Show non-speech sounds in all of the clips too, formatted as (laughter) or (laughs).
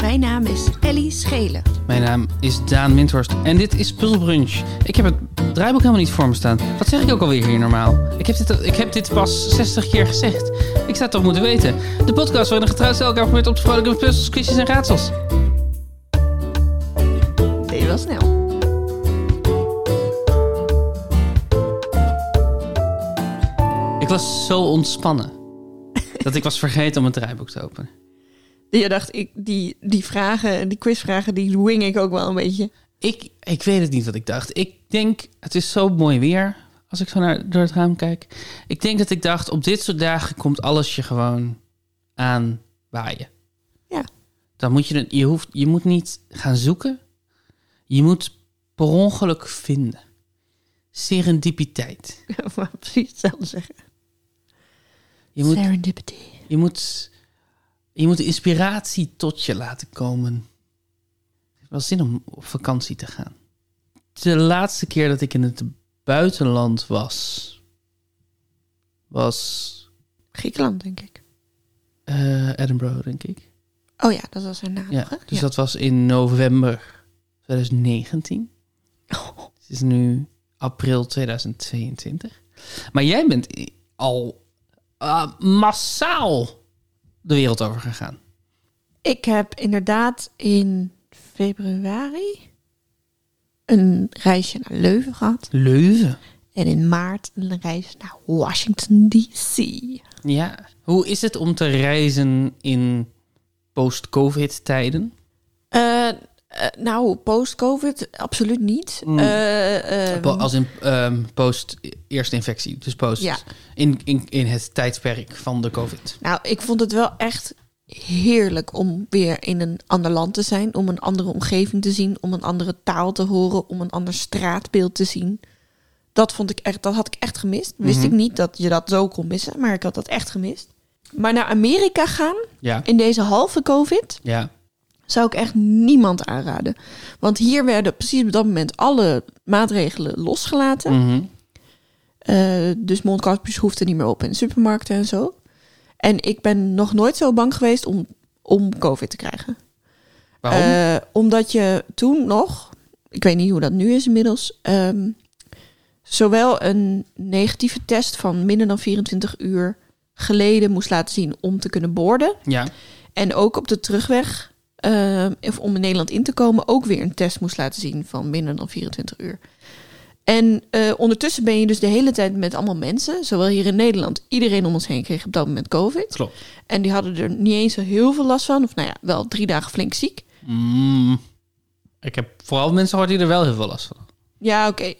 Mijn naam is Ellie Schelen. Mijn naam is Daan Windhorst en dit is Puzzlebrunch. Ik heb het draaiboek helemaal niet voor me staan. Wat zeg ik ook alweer hier normaal? Ik heb dit, ik heb dit pas 60 keer gezegd. Ik zou het toch moeten weten. De podcast waarin de getrouwd elkaar probeert op te vrolijken met puzzels, quizjes en raadsels. Deed je wel snel. Ik was zo ontspannen dat ik was vergeten om het draaiboek te openen. Je dacht, ik, die, die vragen, die quizvragen, die wing ik ook wel een beetje. (laughs) Ik, ik weet het niet wat ik dacht. Ik denk, het is zo mooi weer als ik zo naar, door het raam kijk. Ik denk dat ik dacht, op dit soort dagen komt alles je gewoon aan waaien. Ja. Dan moet je, het- je, hoeft, je moet niet gaan zoeken. Je moet per ongeluk vinden. Serendipiteit. maar precies hetzelfde zeggen. Je moet, Serendipity. je moet, je moet de inspiratie tot je laten komen. Ik heb wel zin om op vakantie te gaan. De laatste keer dat ik in het buitenland was, was Griekenland, denk ik. eh, Edinburgh, denk ik. Oh ja, dat was erna Ja, nog, hè? dus Ja. dat was in november 2019. Oh, Het is nu april 2022. Maar jij bent i- al eh, massaal de wereld over gegaan. Ik heb inderdaad in februari een reisje naar Leuven gehad. Leuven. En in maart een reis naar Washington, D.C. Ja. Hoe is het om te reizen in post-covid-tijden? Eh, eh, nou, post-covid absoluut niet. Hmm. Eh, ehm, Po- Als in ehm, post-eerste infectie. Dus post. Ja. In, in, in het tijdperk van de covid. nou, ik vond het wel echt heerlijk om weer in een ander land te zijn. Om een andere omgeving te zien. Om een andere taal te horen. Om een ander straatbeeld te zien. Dat vond ik echt, dat had ik echt gemist. Wist ik niet dat je dat zo kon missen, maar ik had dat echt gemist. Maar naar Amerika gaan Ja. in deze halve COVID Ja. zou ik echt niemand aanraden. Want hier werden precies op dat moment alle maatregelen losgelaten. Mhm. Eh, dus mondkapjes hoefden niet meer op in de supermarkten en zo. En ik ben nog nooit zo bang geweest om, om COVID te krijgen. Waarom? Eh, omdat je toen nog, ik weet niet hoe dat nu is inmiddels, ehm, zowel een negatieve test van minder dan 24 uur geleden moest laten zien om te kunnen boorden. ja. En ook op de terugweg, eh, of om in Nederland in te komen, ook weer een test moest laten zien van minder dan 24 uur. En eh, ondertussen ben je dus de hele tijd met allemaal mensen, zowel hier in Nederland, iedereen om ons heen kreeg op dat moment COVID. Klopt. En die hadden er niet eens zo heel veel last van, of nou ja, wel drie dagen flink ziek. Mm. Ik heb vooral mensen gehoord die er wel heel veel last van hadden. Ja, oké.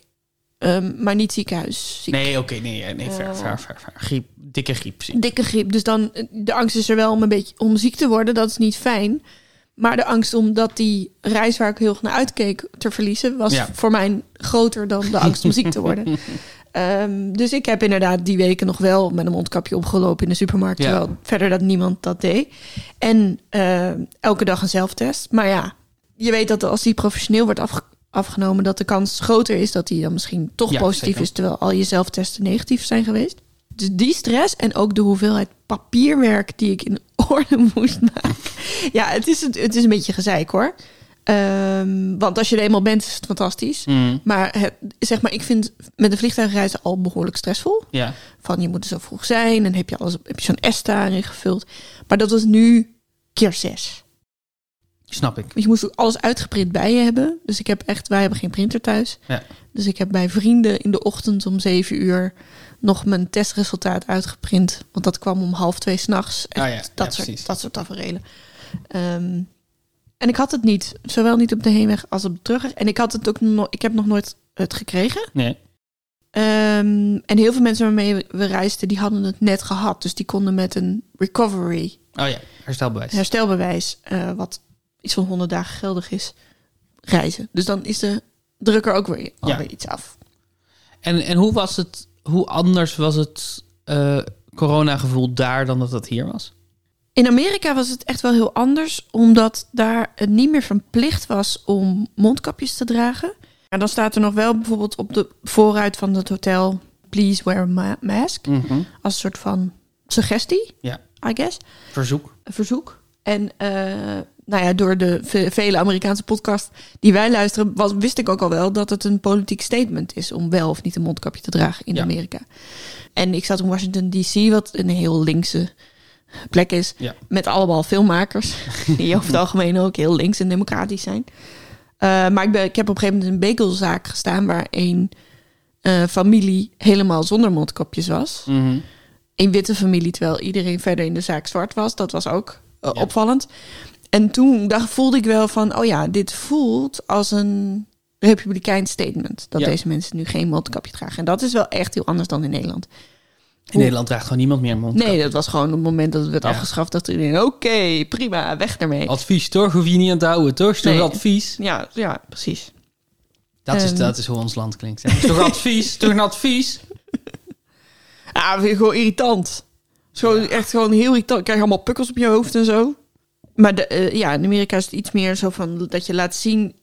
Ehm, maar niet ziekenhuis. ziek. Nee, oké, nee, ja, nee, Oh. ver, ver, ver, ver. Griep, dikke griep. zie ik. Dikke griep. Dus dan eh, de angst is er wel om een beetje om ziek te worden. Dat is niet fijn. Maar de angst om dat die reis waar ik heel erg naar uitkeek te verliezen, was Ja. voor mij groter dan de angst om ziek te worden. (laughs) Ehm, dus ik heb inderdaad die weken nog wel met een mondkapje opgelopen in de supermarkt. Ja. Terwijl verder dat niemand dat deed. En ehm, elke dag een zelftest. Maar ja, je weet dat als die professioneel wordt afge- afgenomen, dat de kans groter is dat die dan misschien toch Ja, positief zeker. is, terwijl al je zelftesten negatief zijn geweest. Dus die stress en ook de hoeveelheid papierwerk die ik in (laughs) orde moest maken. Ja, het is, een- het is een beetje gezeik hoor. Ehm, want als je er eenmaal bent, is het fantastisch. Mm. Maar het, zeg maar, ik vind met een vliegtuigreis al behoorlijk stressvol. Ja. Van je moet er zo vroeg zijn en heb je, alles, heb je zo'n ESTA ingevuld. Maar dat was nu keer zes. Snap ik. Want je moest ook alles uitgeprint bij je hebben. Dus ik heb echt, wij hebben geen printer thuis. Ja. Dus ik heb bij vrienden in de ochtend om zeven uur nog mijn testresultaat uitgeprint. Want dat kwam om half twee s'nachts. Ah ja, ja, dat, precies. soort, dat soort tafereelen. Ehm, en ik had het niet. Zowel niet op de heenweg als op de terugweg. En ik, had het ook no- ik heb nog nooit het gekregen. Nee. Ehm, en heel veel mensen waarmee we reisden, die hadden het net gehad. Dus die konden met een recovery Oh ja, herstelbewijs. herstelbewijs, eh, wat iets van 100 dagen geldig is, reizen. Dus dan is de drukker ook weer alweer iets af. En, en hoe was het, hoe anders was het eh coronagevoel daar dan dat dat hier was? In Amerika was het echt wel heel anders, omdat daar het niet meer verplicht was om mondkapjes te dragen. En dan staat er nog wel bijvoorbeeld op de voorruit van het hotel: please wear a ma- mask. Mhm. Als een soort van suggestie, Ja, I guess. verzoek. een verzoek. En eh, nou ja, door de ve- vele Amerikaanse podcasts die wij luisteren, was, wist ik ook al wel dat het een politiek statement is om wel of niet een mondkapje te dragen in Ja. Amerika. En ik zat in Washington DC, wat een heel linkse plek is, Ja. met allemaal filmmakers, die over het algemeen ook heel links en democratisch zijn. Eh, maar ik, ben, ik heb op een gegeven moment in een bagelzaak gestaan waar een eh, familie helemaal zonder mondkapjes was Mhm. een witte familie, terwijl iedereen verder in de zaak zwart was. Dat was ook eh, Ja. opvallend. En toen dacht, voelde ik wel van, oh ja, dit voelt als een republikein statement. Dat Ja. deze mensen nu geen mondkapje dragen. En dat is wel echt heel anders dan in Nederland. In Nederland draagt gewoon niemand meer een mondkapje. Nee, dat was gewoon op het moment dat het werd Ja. afgeschaft. Dat iedereen, oké, prima, weg ermee. Advies, toch? Hoef je niet aan te houden, toch? Toch Nee. advies? Ja, ja, precies. Dat is, Ehm. dat is hoe ons land klinkt. hè. Toch advies? Toch een advies? Ah, vind ik gewoon irritant. Zo echt gewoon heel irritant. Krijg je allemaal pukkels op je hoofd en zo. Maar de, eh, ja, in Amerika is het iets meer zo van dat je laat zien,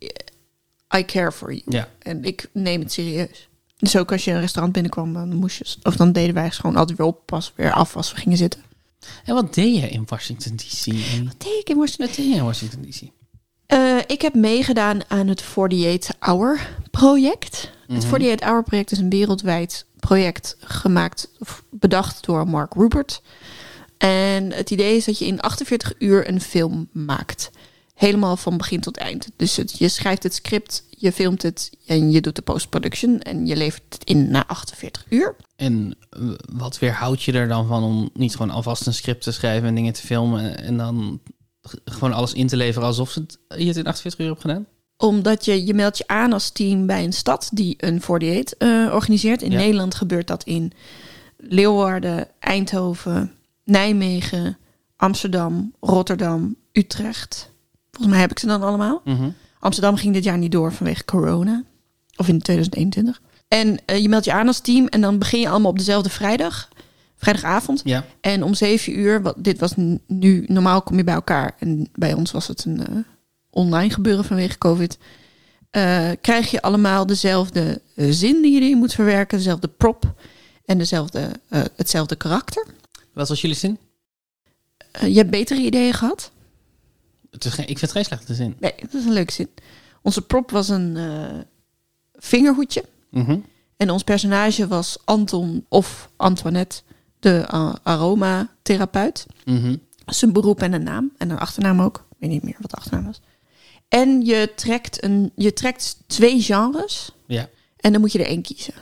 eh, I care for you. Ja. En ik neem het serieus. Dus ook als je een restaurant binnenkwam, dan moest je... Of dan deden wij gewoon altijd weer op, pas weer af als we gingen zitten. En wat deed je in Washington D.C.? Amy? Wat deed ik in Washington? Wat deed je in Washington D.C.? Eh, ik heb meegedaan aan het 48-hour project. Het 48-hour project is een wereldwijd project gemaakt, of bedacht door Mark Rupert. En het idee is dat je in 48 uur een film maakt. Helemaal van begin tot eind. Dus het- je schrijft het script, je filmt het en je doet de post-production. En je levert het in na 48 uur. En eh, wat weerhoudt je er dan van om niet gewoon alvast een script te schrijven en dingen te filmen en dan g- gewoon alles in te leveren alsof ze het- je het in 48 uur hebt gedaan? Omdat je, je meldt je aan als team bij een stad die een 48 eh organiseert. In Ja. Nederland gebeurt dat in Leeuwarden, Eindhoven, Nijmegen, Amsterdam, Rotterdam, Utrecht. Volgens mij heb ik ze dan allemaal. Mhm. Amsterdam ging dit jaar niet door vanwege corona. Of in 2021. En eh, je meldt je aan als team en dan begin je allemaal op dezelfde vrijdag. Vrijdagavond. Ja. En om zeven uur, wat, dit was n- nu, normaal kom je bij elkaar. En bij ons was het een eh, online gebeuren vanwege COVID. Eh, krijg je allemaal dezelfde eh, zin die je erin moet verwerken, dezelfde prop en dezelfde, eh, hetzelfde karakter. Wat was jullie zin? Eh, je hebt betere ideeën gehad? Het is geen- ik vind het geen slechte zin. Nee, dat is een leuke zin. Onze prop was een eh, vingerhoedje. Mhm. En ons personage was Anton of Antoinette, de aroma aromatherapeut. Mhm. zijn beroep en een naam. En een achternaam ook. Ik weet niet meer wat de achternaam was. En je trekt, een, je trekt twee genres. Ja. En dan moet je er één kiezen.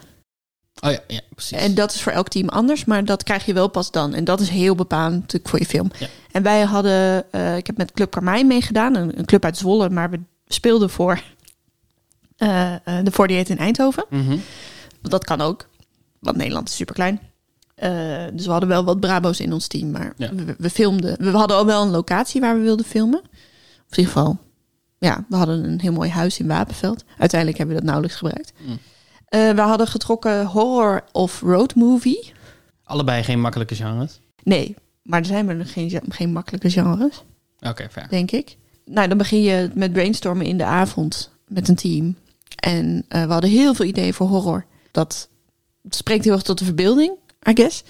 Oh ja, ja precies. En dat is voor elk team anders, maar dat krijg je wel pas dan. En dat is heel bepalend natuurlijk voor je film. Ja. En wij hadden, eh, ik heb met Club Carmijn meegedaan, een, een club uit Zwolle, maar we speelden voor eh, eh, de 48 in Eindhoven. Mhm. Want dat kan ook, want Nederland is superklein. Eh, dus we hadden wel wat Brabo's in ons team, maar Ja. we, we filmden. We hadden al wel een locatie waar we wilden filmen. Of in ieder geval, ja, we hadden een heel mooi huis in Wapenveld. Uiteindelijk hebben we dat nauwelijks gebruikt. Mm. Eh, we hadden getrokken horror of road movie. Allebei geen makkelijke genres. Nee, maar er zijn maar geen, gen- geen makkelijke genres, Oké, fair. denk ik. Nou, dan begin je met brainstormen in de avond met een team. En eh, we hadden heel veel ideeën voor horror. Dat spreekt heel erg tot de verbeelding, I guess.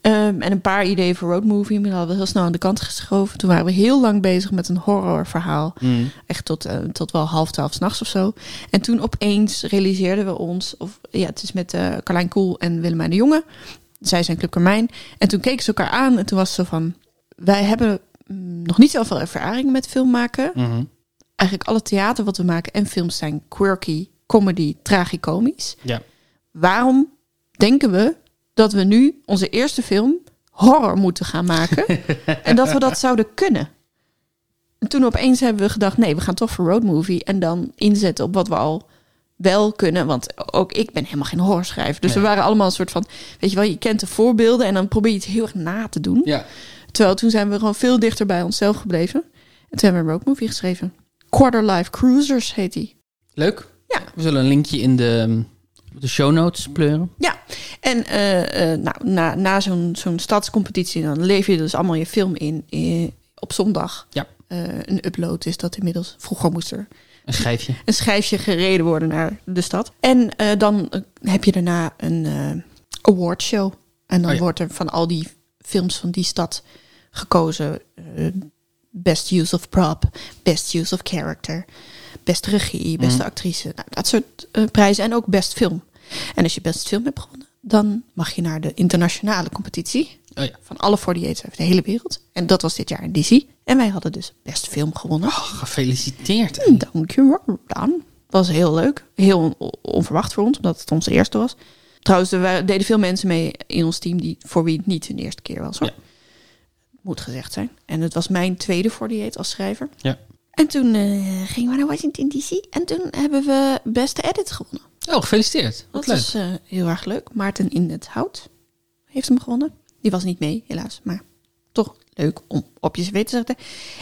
Ehm, en een paar ideeën voor road movie. Maar die hadden we heel snel aan de kant geschoven. Toen waren we heel lang bezig met een horrorverhaal. Mhm. Echt tot, eh, tot wel half twaalf s'nachts of zo. En toen opeens realiseerden we ons... Of, ja, het is met eh Carlijn Koel en Willemijn de Jonge. Zij zijn Club Carmijn. En toen keken ze elkaar aan en toen was ze van... Wij hebben mm, nog niet zoveel ervaring met film maken. Mhm. Eigenlijk alle theater wat we maken en films zijn quirky, comedy, tragicomisch. Ja. Waarom denken we dat we nu onze eerste film horror moeten gaan (laughs) maken? en dat we dat zouden kunnen? En toen opeens hebben we gedacht, nee, we gaan toch voor road movie. En dan inzetten op wat we al wel kunnen. Want ook ik ben helemaal geen horrorschrijver. Dus Nee. we waren allemaal een soort van, weet je wel, je kent de voorbeelden. En dan probeer je het heel erg na te doen. Ja. Terwijl toen zijn we gewoon veel dichter bij onszelf gebleven. En toen hebben we een roadmovie geschreven. Quarter Life Cruisers heet die. Leuk. Ja. We zullen een linkje in de, de show notes pleuren. Ja, en eh, eh, nou, na, na zo'n zo'n stadscompetitie... dan lever je dus allemaal je film in, eh, op zondag. Ja. Eh, een upload is dat inmiddels. Vroeger moest er Een schijfje. een schijfje gereden worden naar de stad. En eh, dan eh, heb je daarna een eh awardshow. En dan Oh ja. wordt er van al die films van die stad gekozen. eh, Best use of prop, best use of character, best regie, beste Mhm. actrice. Nou, dat soort eh, prijzen. En ook best film. En als je best film hebt gewonnen, dan mag je naar de internationale competitie. Oh ja. Van alle 48 over de hele wereld. En dat was dit jaar in DC. En wij hadden dus best film gewonnen. (laughs) Oh. Gefeliciteerd. Hm, Mm. Dankjewel, Daan. Was heel leuk. Heel on- onverwacht voor ons, omdat het onze eerste was. Trouwens, er wa- deden veel mensen mee in ons team die, voor wie het niet hun eerste keer was. Hoor. Ja. Moet gezegd zijn. En het was mijn tweede voor dieet als schrijver. Ja. En toen eh, gingen we naar Washington DC. En toen hebben we beste edit gewonnen. Oh, gefeliciteerd. Wat Dat leuk. is eh, heel erg leuk. Maarten in het hout heeft hem gewonnen. Die was niet mee, helaas. Maar toch leuk om op je cv te zetten.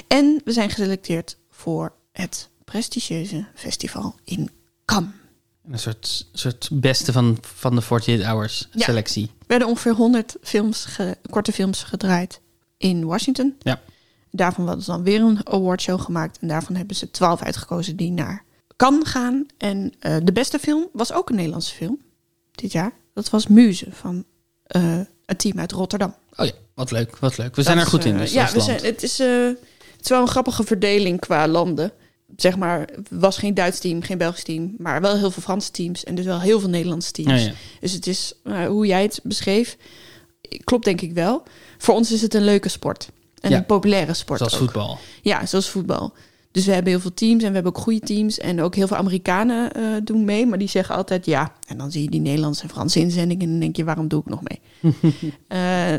En we zijn geselecteerd voor het prestigieuze festival in Cannes. Een soort, soort beste van, van de 48 Hours Ja. selectie. Er werden ongeveer 100 films ge- korte films gedraaid in Washington. Ja. Daarvan was dan weer een awardshow gemaakt. En daarvan hebben ze 12 uitgekozen die naar Cannes gaan. En eh, de beste film was ook een Nederlandse film dit jaar. Dat was Muze van eh, een team uit Rotterdam. Oh ja, wat leuk, wat leuk. We zijn er Dat goed is, in, eh, dus ja, als we land. zijn, het, is, eh, het is wel een grappige verdeling qua landen. Zeg maar, was geen Duits team, geen Belgisch team, maar wel heel veel Franse teams en dus wel heel veel Nederlandse teams. Ja, ja. Dus het is, eh, hoe jij het beschreef, klopt denk ik wel. Voor ons is het een leuke sport. En Ja. een populaire sport Zoals ook. voetbal. Ja, zoals voetbal. Dus we hebben heel veel teams en we hebben ook goede teams. En ook heel veel Amerikanen eh, doen mee, maar die zeggen altijd ja. En dan zie je die Nederlandse en Franse inzendingen en dan denk je, waarom doe ik nog mee? (laughs) Eh,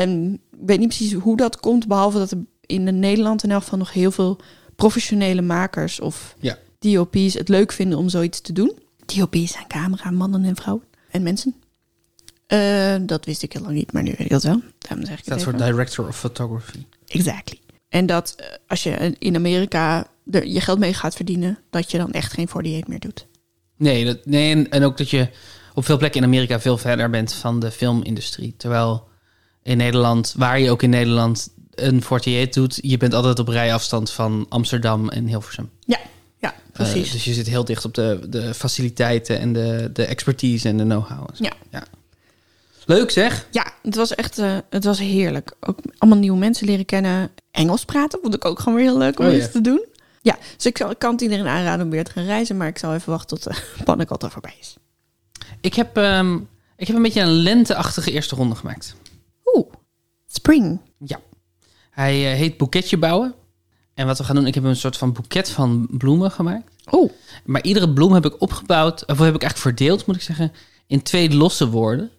en ik weet niet precies hoe dat komt, behalve dat er in Nederland in elk geval nog heel veel professionele makers of Ja. DOP's het leuk vinden om zoiets te doen. DOP's zijn camera, mannen en vrouwen en mensen. Eh, dat wist ik heel lang niet, maar nu weet ik dat wel. Daarom zeg ik het Staat voor even. director of photography. Exactly. En dat eh, als je in Amerika er je geld mee gaat verdienen, dat je dan echt geen 48 meer doet. Nee, dat, nee en, en ook dat je op veel plekken in Amerika veel verder bent van de filmindustrie. Terwijl in Nederland, waar je ook in Nederland een 48 doet, je bent altijd op rijafstand van Amsterdam en Hilversum. Ja, ja, precies. Eh, dus je zit heel dicht op de, de faciliteiten en de, de expertise en de know-how. en zo. Ja. Leuk zeg. Ja, het was echt eh, het was heerlijk. Ook allemaal nieuwe mensen leren kennen. Engels praten vond ik ook gewoon weer heel leuk om Oh, eens ja. te doen. Ja, dus ik, zal- ik kan het iedereen aanraden om weer te gaan reizen, maar ik zal even wachten tot de (laughs) pannenkat er voorbij is. Ik heb, ehm, ik heb een beetje een lenteachtige eerste ronde gemaakt. Oeh, spring. Ja. Hij eh, heet Boeketje Bouwen. En wat we gaan doen, ik heb een soort van boeket van bloemen gemaakt. Oeh, Maar iedere bloem heb ik opgebouwd, of heb ik eigenlijk verdeeld, moet ik zeggen, in twee losse woorden.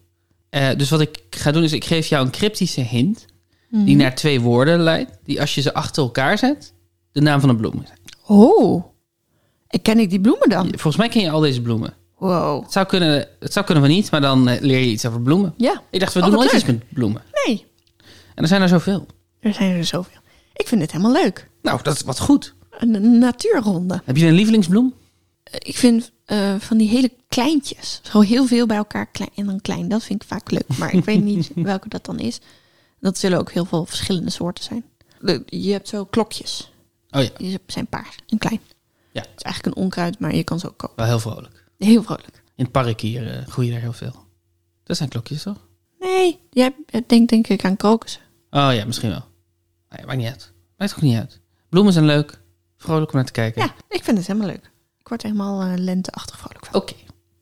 Eh, dus wat ik ga doen, is ik geef jou een cryptische hint, Mhm. die naar twee woorden leidt, die als je ze achter elkaar zet, de naam van een bloem is. oh. En ken ik die bloemen dan? Volgens mij ken je al deze bloemen. Wow. Het zou kunnen, het zou kunnen we niet, maar dan eh, leer je iets over bloemen. Ja, Ik dacht, we Oh, doen wat nooit iets leuk. met bloemen. nee, En er zijn er zoveel. er zijn er zoveel. Ik vind het helemaal leuk. Nou, dat is wat goed. Een natuurronde. Heb je een lievelingsbloem? Ik vind eh, van die hele kleintjes. Zo heel veel bij elkaar klein en dan klein. Dat vind ik vaak leuk. Maar ik weet niet welke dat dan is. Dat zullen ook heel veel verschillende soorten zijn. De- Je hebt zo klokjes. Oh ja, Die zijn paars en klein. Ja. Het is eigenlijk een onkruid, maar je kan ze ook kopen. wel heel vrolijk. Heel vrolijk. In het park hier eh, groeien er heel veel. Dat zijn klokjes, toch? Nee, jij denkt denk ik aan krokussen. Oh ja, misschien wel. Nee, maakt niet uit. Maakt ook niet uit. Bloemen zijn leuk. Vrolijk om naar te kijken. Ja, ik vind het helemaal leuk. Ik word er helemaal eh, lenteachtig vrolijk van. Oké.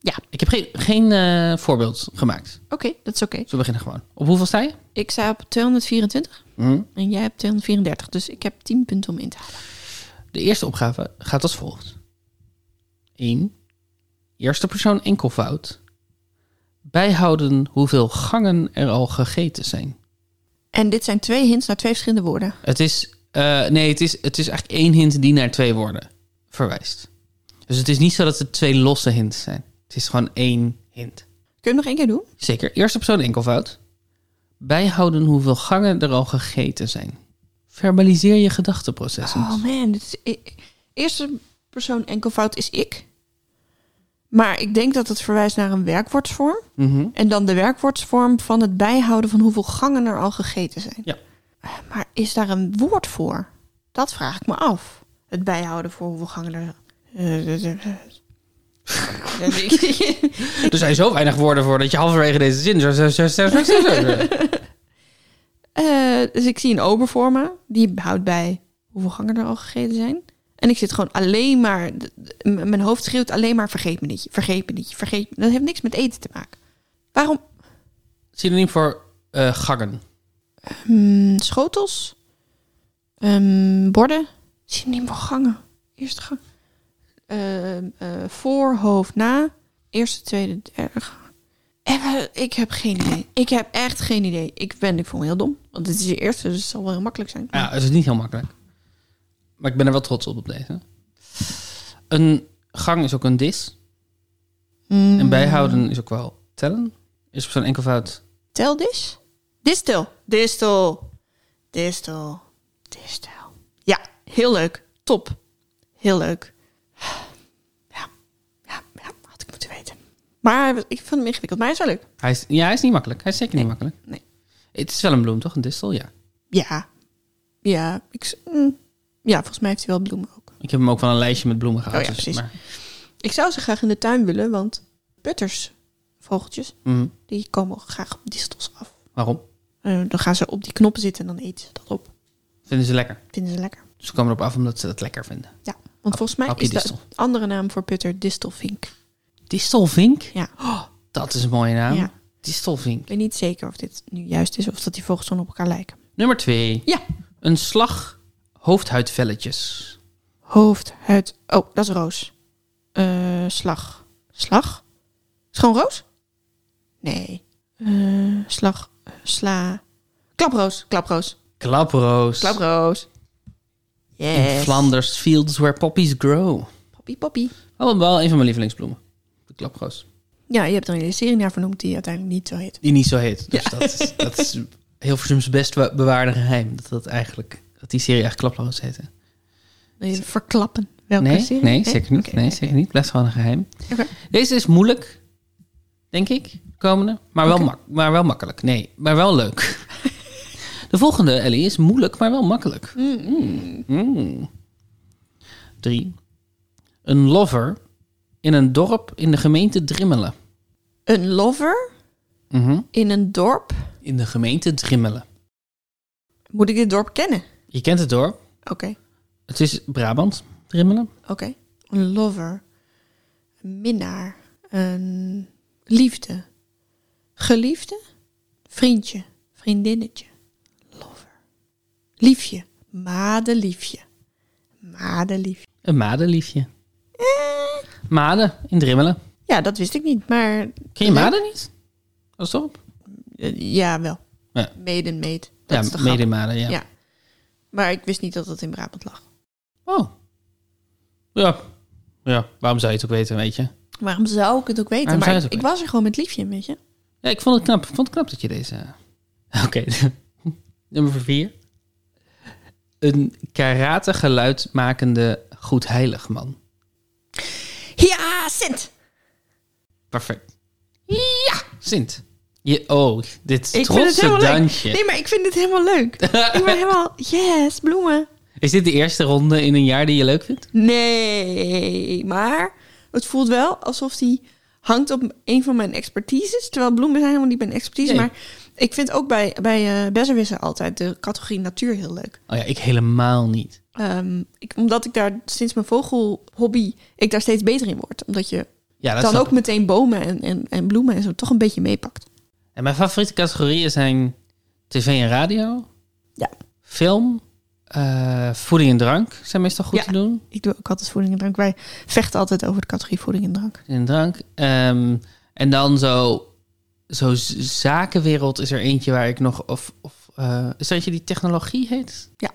Ja. Ik heb geen, geen eh, voorbeeld gemaakt. Oké, dat is oké. Dus we beginnen gewoon. Op hoeveel sta je? Ik sta op 224 Hm? en jij hebt 234. Dus ik heb 10 punten om in te halen. De eerste opgave gaat als volgt. 1. Eerste persoon enkelvoud. Bijhouden hoeveel gangen er al gegeten zijn. En dit zijn twee hints naar twee verschillende woorden. Het is, eh, nee, het is, het is eigenlijk één hint die naar twee woorden verwijst. Dus het is niet zo dat het twee losse hints zijn. Het is gewoon één hint. Kun je hem nog één keer doen? Zeker. Eerste persoon enkelvoud. Bijhouden hoeveel gangen er al gegeten zijn. Verbaliseer je gedachteprocessen. Oh man, dit is e- eerste persoon enkelvoud is ik. Maar ik denk dat het verwijst naar een werkwoordsvorm. Mhm. En dan de werkwoordsvorm van het bijhouden van hoeveel gangen er al gegeten zijn. Ja. Eh, Maar is daar een woord voor? Dat vraag ik me af. Het bijhouden voor hoeveel gangen er... (laughs) Eh, Er zijn zo weinig woorden voor dat je halverwege deze zin... zo- zo- zo- zo- zo- zo- zo- zo- Eh, dus ik zie een ober voor me. Die houdt bij hoeveel gangen er al gegeten zijn. En ik zit gewoon alleen maar, d- d- m- mijn hoofd schreeuwt alleen maar vergeet me nietje, vergeet me nietje, vergeet me. Dat heeft niks met eten te maken. Waarom? Synoniem voor eh gangen. Hmm, schotels? Ehm, borden? Synoniem voor gangen. Eerste gang. Ehm, eh, voor, hoofd, na. Eerste, tweede, derde gang. En we- ik heb geen idee. Ik heb echt geen idee. Ik ben, ik vond me heel dom. Want het is je eerste, dus het zal wel heel makkelijk zijn. Ja, het is niet heel makkelijk. Maar ik ben er wel trots op op deze. Een gang is ook een dis. Hmm. En bijhouden is ook wel tellen. Is op zo'n enkelvoud. Tel dis? Distel. Distel. Distel. Distel. Ja, heel leuk. Top. Heel leuk. Ja, ja, ja, had ik moeten weten. Maar ik vond hem ingewikkeld, maar hij is wel leuk. Hij is, ja, hij is niet makkelijk. Hij is zeker niet makkelijk. nee. Het is wel een bloem, toch? Een distel, ja. Ja. Ja, ik, z- mm. ja, volgens mij heeft hij wel bloemen ook. Ik heb hem ook van een lijstje met bloemen gehaald. Oh ja, dus, precies. maar- Ik zou ze graag in de tuin willen, want putters, vogeltjes, Mhm. die komen graag op distels af. Waarom? Eh, dan gaan ze op die knoppen zitten en dan eten ze dat op. Vinden ze lekker. Dus Vinden ze lekker. Ze komen erop af omdat ze dat lekker vinden. Ja, want volgens mij hapje is de distel. andere naam voor putter distelvink. Distelvink? Ja. Dat is een mooie naam. Oh. Ja. Distelvink. Ik weet niet zeker of dit nu juist is of dat die vogels dan op elkaar lijken. Nummer twee. Ja. Een slag hoofdhuidvelletjes. Hoofd, huid. Oh, dat is roos. Eh, slag. Slag? Is gewoon roos? Nee. Eh, slag. Sla. Klaproos. Klaproos. Klaproos. Klaproos. Yes. In Flanders fields where poppies grow. Poppy, poppy. Oh, wel een van mijn lievelingsbloemen. De klaproos. Ja, je hebt er een hele serie naar vernoemd die uiteindelijk niet zo heet. Die niet zo heet. Dus dat, is, dat is heel verzums best wa- bewaarde geheim. Dat, dat, eigenlijk, dat die serie eigenlijk klaproos heette. Wil je verklappen welke nee, serie? nee, zeker niet. Oké, nee, oké. zeker niet. Blijft gewoon een geheim. Oké. Deze is moeilijk, denk ik, de komende. Maar wel, Oké. mak maar wel makkelijk. Nee, maar wel leuk. (laughs) de volgende, Ellie, is moeilijk, maar wel makkelijk. Mm. Drie. Een lover in een dorp in de gemeente Drimmelen. Een lover Mhm. in een dorp. In de gemeente Drimmelen. Moet ik dit dorp kennen? Je kent het dorp. Oké. Het is Brabant, Drimmelen. Oké. Een lover. Een minnaar. Een liefde. Geliefde. Vriendje. Vriendinnetje. Lover. Liefje. Madeliefje. Madeliefje. Een madeliefje. Eh. Made in Drimmelen. Ja, dat wist ik niet, maar... Ken je Leuk. Maden niet? Als dorp? eh, ja, wel. Ja. Made and made. Dat ja, is de mede grap. in Maden, ja. Ja. Maar ik wist niet dat dat in Brabant lag. Oh. Ja. Ja, waarom zou je het ook weten, weet je? Waarom zou ik het ook weten? Waarom maar zou je ik, het ook ik was er gewoon met liefje, weet je? Ja, ik vond het knap. Ik vond het knap dat je deze... (laughs) Oké. Nummer vier. Een karate geluid makende goed heilig man. Ja, Sint! Perfect. Ja! Sint. Je, oh, dit Ik vind het trotse helemaal dansje. leuk. Nee, maar ik vind het helemaal (laughs) leuk. ik ben helemaal, yes, bloemen. Is dit de eerste ronde in een jaar die je leuk vindt? Nee, maar het voelt wel alsof die hangt op een van mijn expertises. Terwijl bloemen zijn helemaal niet mijn expertise. Nee. Maar ik vind ook bij, bij eh Besserwisser altijd de categorie natuur heel leuk. Oh ja, ik helemaal niet. Ehm, ik, omdat ik daar sinds mijn vogelhobby, ik daar steeds beter in word. Omdat je Ja, dat dan snap ook meteen bomen en, en, en bloemen en zo toch een beetje meepakt. En mijn favoriete categorieën zijn tv en radio. Ja. Film. eh, voeding en drank zijn meestal goed Ja. te doen. Ik doe ook altijd voeding en drank. Wij vechten altijd over de categorie voeding en drank. Voeding en drank. Ehm, en dan zo, zo z- zakenwereld is er eentje waar ik nog... Of, of, eh, is dat eentje die technologie heet? Ja.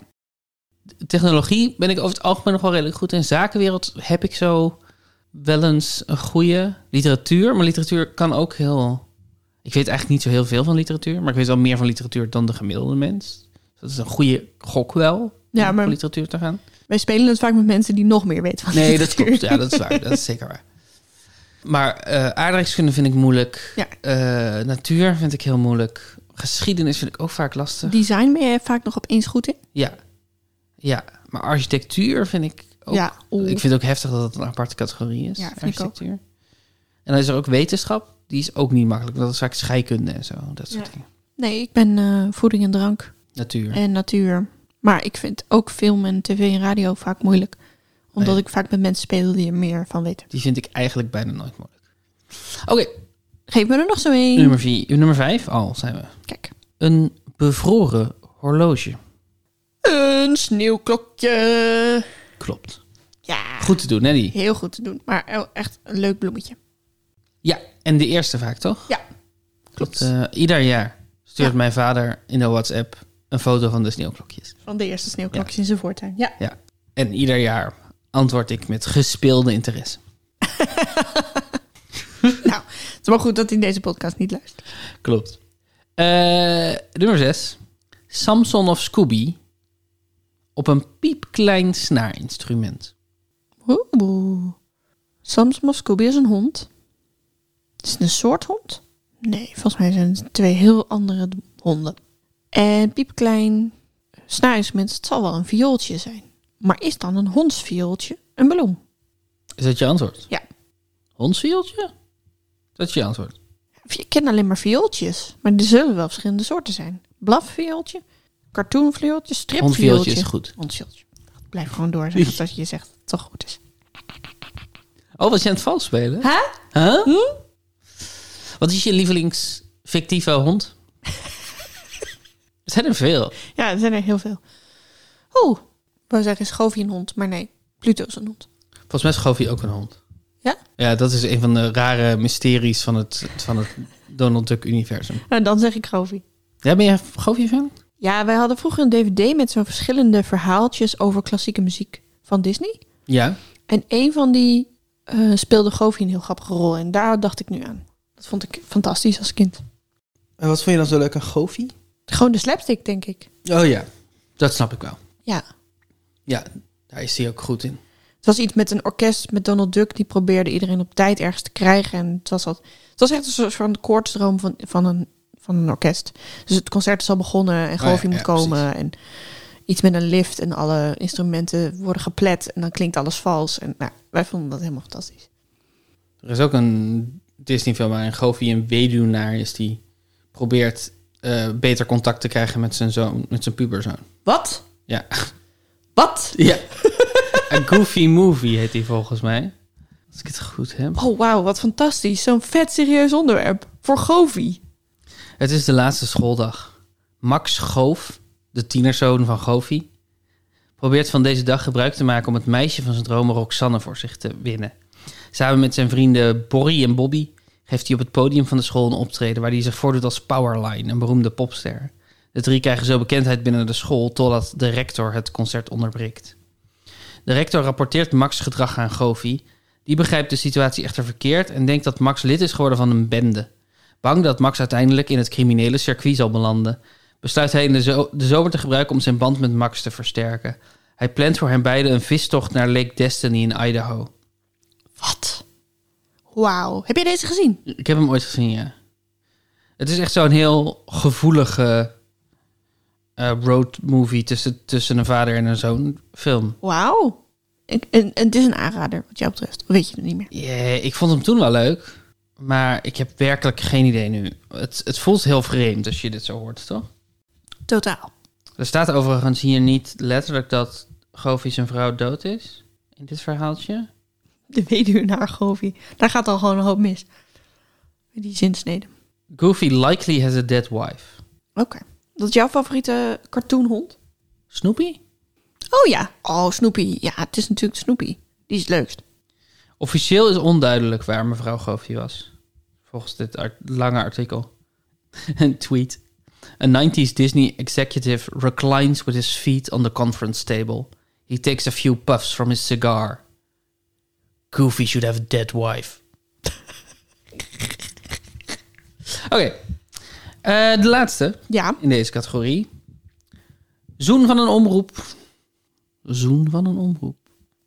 Technologie ben ik over het algemeen nog wel redelijk goed in. Zakenwereld heb ik zo wel eens een goede literatuur. Maar literatuur kan ook heel... Ik weet eigenlijk niet zo heel veel van literatuur. Maar ik weet wel meer van literatuur dan de gemiddelde mens. Dus dat is een goede gok wel. om Ja, maar- voor literatuur te gaan. Wij spelen het vaak met mensen die nog meer weten (laughs) van Nee, dat literatuur. klopt. Ja, dat is waar. Dat is zeker waar. Maar eh aardrijkskunde vind ik moeilijk. Ja. Eh, natuur vind ik heel moeilijk. Geschiedenis vind ik ook vaak lastig. Design ben je vaak nog opeens goed in. Ja. Ja. Maar architectuur vind ik ook... ja, oeh. Ik vind het ook heftig dat het een aparte categorie is. Ja, vind ik architectuur. En dan is er ook wetenschap. Die is ook niet makkelijk. want Dat is vaak scheikunde en zo. Dat soort Ja. dingen. Nee, ik ben eh, voeding en drank Natuur. en natuur. Maar ik vind ook film en tv en radio vaak moeilijk. Omdat Nee. ik vaak met mensen speel die er meer van weten. Die vind ik eigenlijk bijna nooit moeilijk. Oké, Geef me er nog zo een. nummer, vier, nummer vijf al zijn we. Kijk. Een bevroren horloge. Een sneeuwklokje. Klopt. Ja, Goed te doen, hè die? heel goed te doen. Maar e- echt een leuk bloemetje. Ja, en de eerste vaak toch? Ja, klopt. Dat, eh, ieder jaar stuurt Ja. mijn vader in de WhatsApp een foto van de sneeuwklokjes. Van de eerste sneeuwklokjes in zijn voortuin. Ja. En ieder jaar antwoord ik met gespeelde interesse. nou, het is wel goed dat hij deze podcast niet luistert. Klopt. Eh, nummer 6. Samson of Scooby op een piepklein snaarinstrument. Oeh. Samson of Scooby is een hond. Is het een soort hond? Nee, volgens mij zijn het twee heel andere d- honden. En piepklein snaarinstrument, het zal wel een viooltje zijn. Maar is dan een hondsviooltje een ballon? Is dat je antwoord? Ja. Hondsvieltje? Dat is je antwoord. Ik ken alleen maar viooltjes, maar er zullen wel verschillende soorten zijn. Blafviooltje, cartoonviooltje, Hondsvieltje is stripviooltje. goed. Hondsviooltje. Blijf gewoon door zeggen dat je zegt dat het toch goed is. Oh, was je aan het vals spelen? Hè? Huh? Wat is je lievelings (laughs) fictieve hond? er zijn er veel. Ja, er zijn er heel veel. Oeh, ik wou zeggen is Goofy een hond, maar nee, Pluto is een hond. Volgens mij is Goofy ook een hond. Ja? Ja, dat is een van de rare mysteries van het, van het Donald Duck-universum. En Nou, dan zeg ik Goofy. Ja, ben jij Goofy-fan? Ja, wij hadden vroeger een dvd met zo'n verschillende verhaaltjes over klassieke muziek van Disney. Ja. En een van die eh, speelde Goofy een heel grappige rol en daar dacht ik nu aan. Dat vond ik fantastisch als kind. En wat vond je dan zo leuk aan Goofy? Gewoon de slapstick, denk ik. Oh ja, dat snap ik wel. Ja. Ja, daar is hij ook goed in. Het was iets met een orkest met Donald Duck. Die probeerde iedereen op tijd ergens te krijgen. En het was, al, het was echt een soort van koortsdroom van, van, een, van een orkest. Dus het concert is al begonnen en Oh ja, Goofy moet ja, komen. En iets met een lift en alle instrumenten worden geplet. En dan klinkt alles vals. En nou, wij vonden dat helemaal fantastisch. Er is ook een Disney-film waarin Goofy een weduwnaar is die probeert eh, beter contact te krijgen met zijn zoon, met zijn puberzoon. Wat? Ja. Wat? (laughs) Ja. een Goofy Movie heet die volgens mij. Als ik het goed heb. Oh, wauw, wat fantastisch. Zo'n vet serieus onderwerp. Voor Goofy. Het is de laatste schooldag. Max Goof, de tienerzoon van Goofy, probeert van deze dag gebruik te maken om het meisje van zijn dromen Roxanne voor zich te winnen. Samen met zijn vrienden Borrie en Bobby geeft hij op het podium van de school een optreden waar hij zich voordoet als Powerline, een beroemde popster. De drie krijgen zo bekendheid binnen de school totdat de rector het concert onderbreekt. De rector rapporteert Max' gedrag aan Goofy. Die begrijpt de situatie echter verkeerd en denkt dat Max lid is geworden van een bende. Bang dat Max uiteindelijk in het criminele circuit zal belanden, besluit hij in de, zo- de zomer te gebruiken om zijn band met Max te versterken. Hij plant voor hen beiden een vistocht naar Lake Destiny in Idaho. Wat? Wauw. Heb jij deze gezien? Ik heb hem ooit gezien, ja. Het is echt zo'n heel gevoelige roadmovie road movie tussen, tussen een vader en een zoon film. Wauw. En, en, en het is een aanrader, wat jou betreft. Of Weet je het niet meer. Yeah, ik vond hem toen wel leuk, maar ik heb werkelijk geen idee nu. Het, het voelt heel vreemd als je dit zo hoort, toch? Totaal. Er staat overigens hier niet letterlijk dat Goofy zijn vrouw dood is. In dit verhaaltje. De weduwnaar Goofy. Daar gaat al gewoon een hoop mis. Met Die zinsnede. Goofy likely has a dead wife. Oké. Dat is jouw favoriete cartoonhond? Snoopy? Oh ja. Oh, Snoopy. Ja, het is natuurlijk Snoopy. Die is het leukst. Officieel is onduidelijk waar mevrouw Goofy was. Volgens dit art- lange artikel. (laughs) Een tweet. A 90s Disney executive reclines with his feet on the conference table. He takes a few puffs from his cigar. Goofy should have a dead wife. (laughs) Oké. Eh, de laatste. Ja. in deze categorie. Zoen van een omroep. Zoen van een omroep.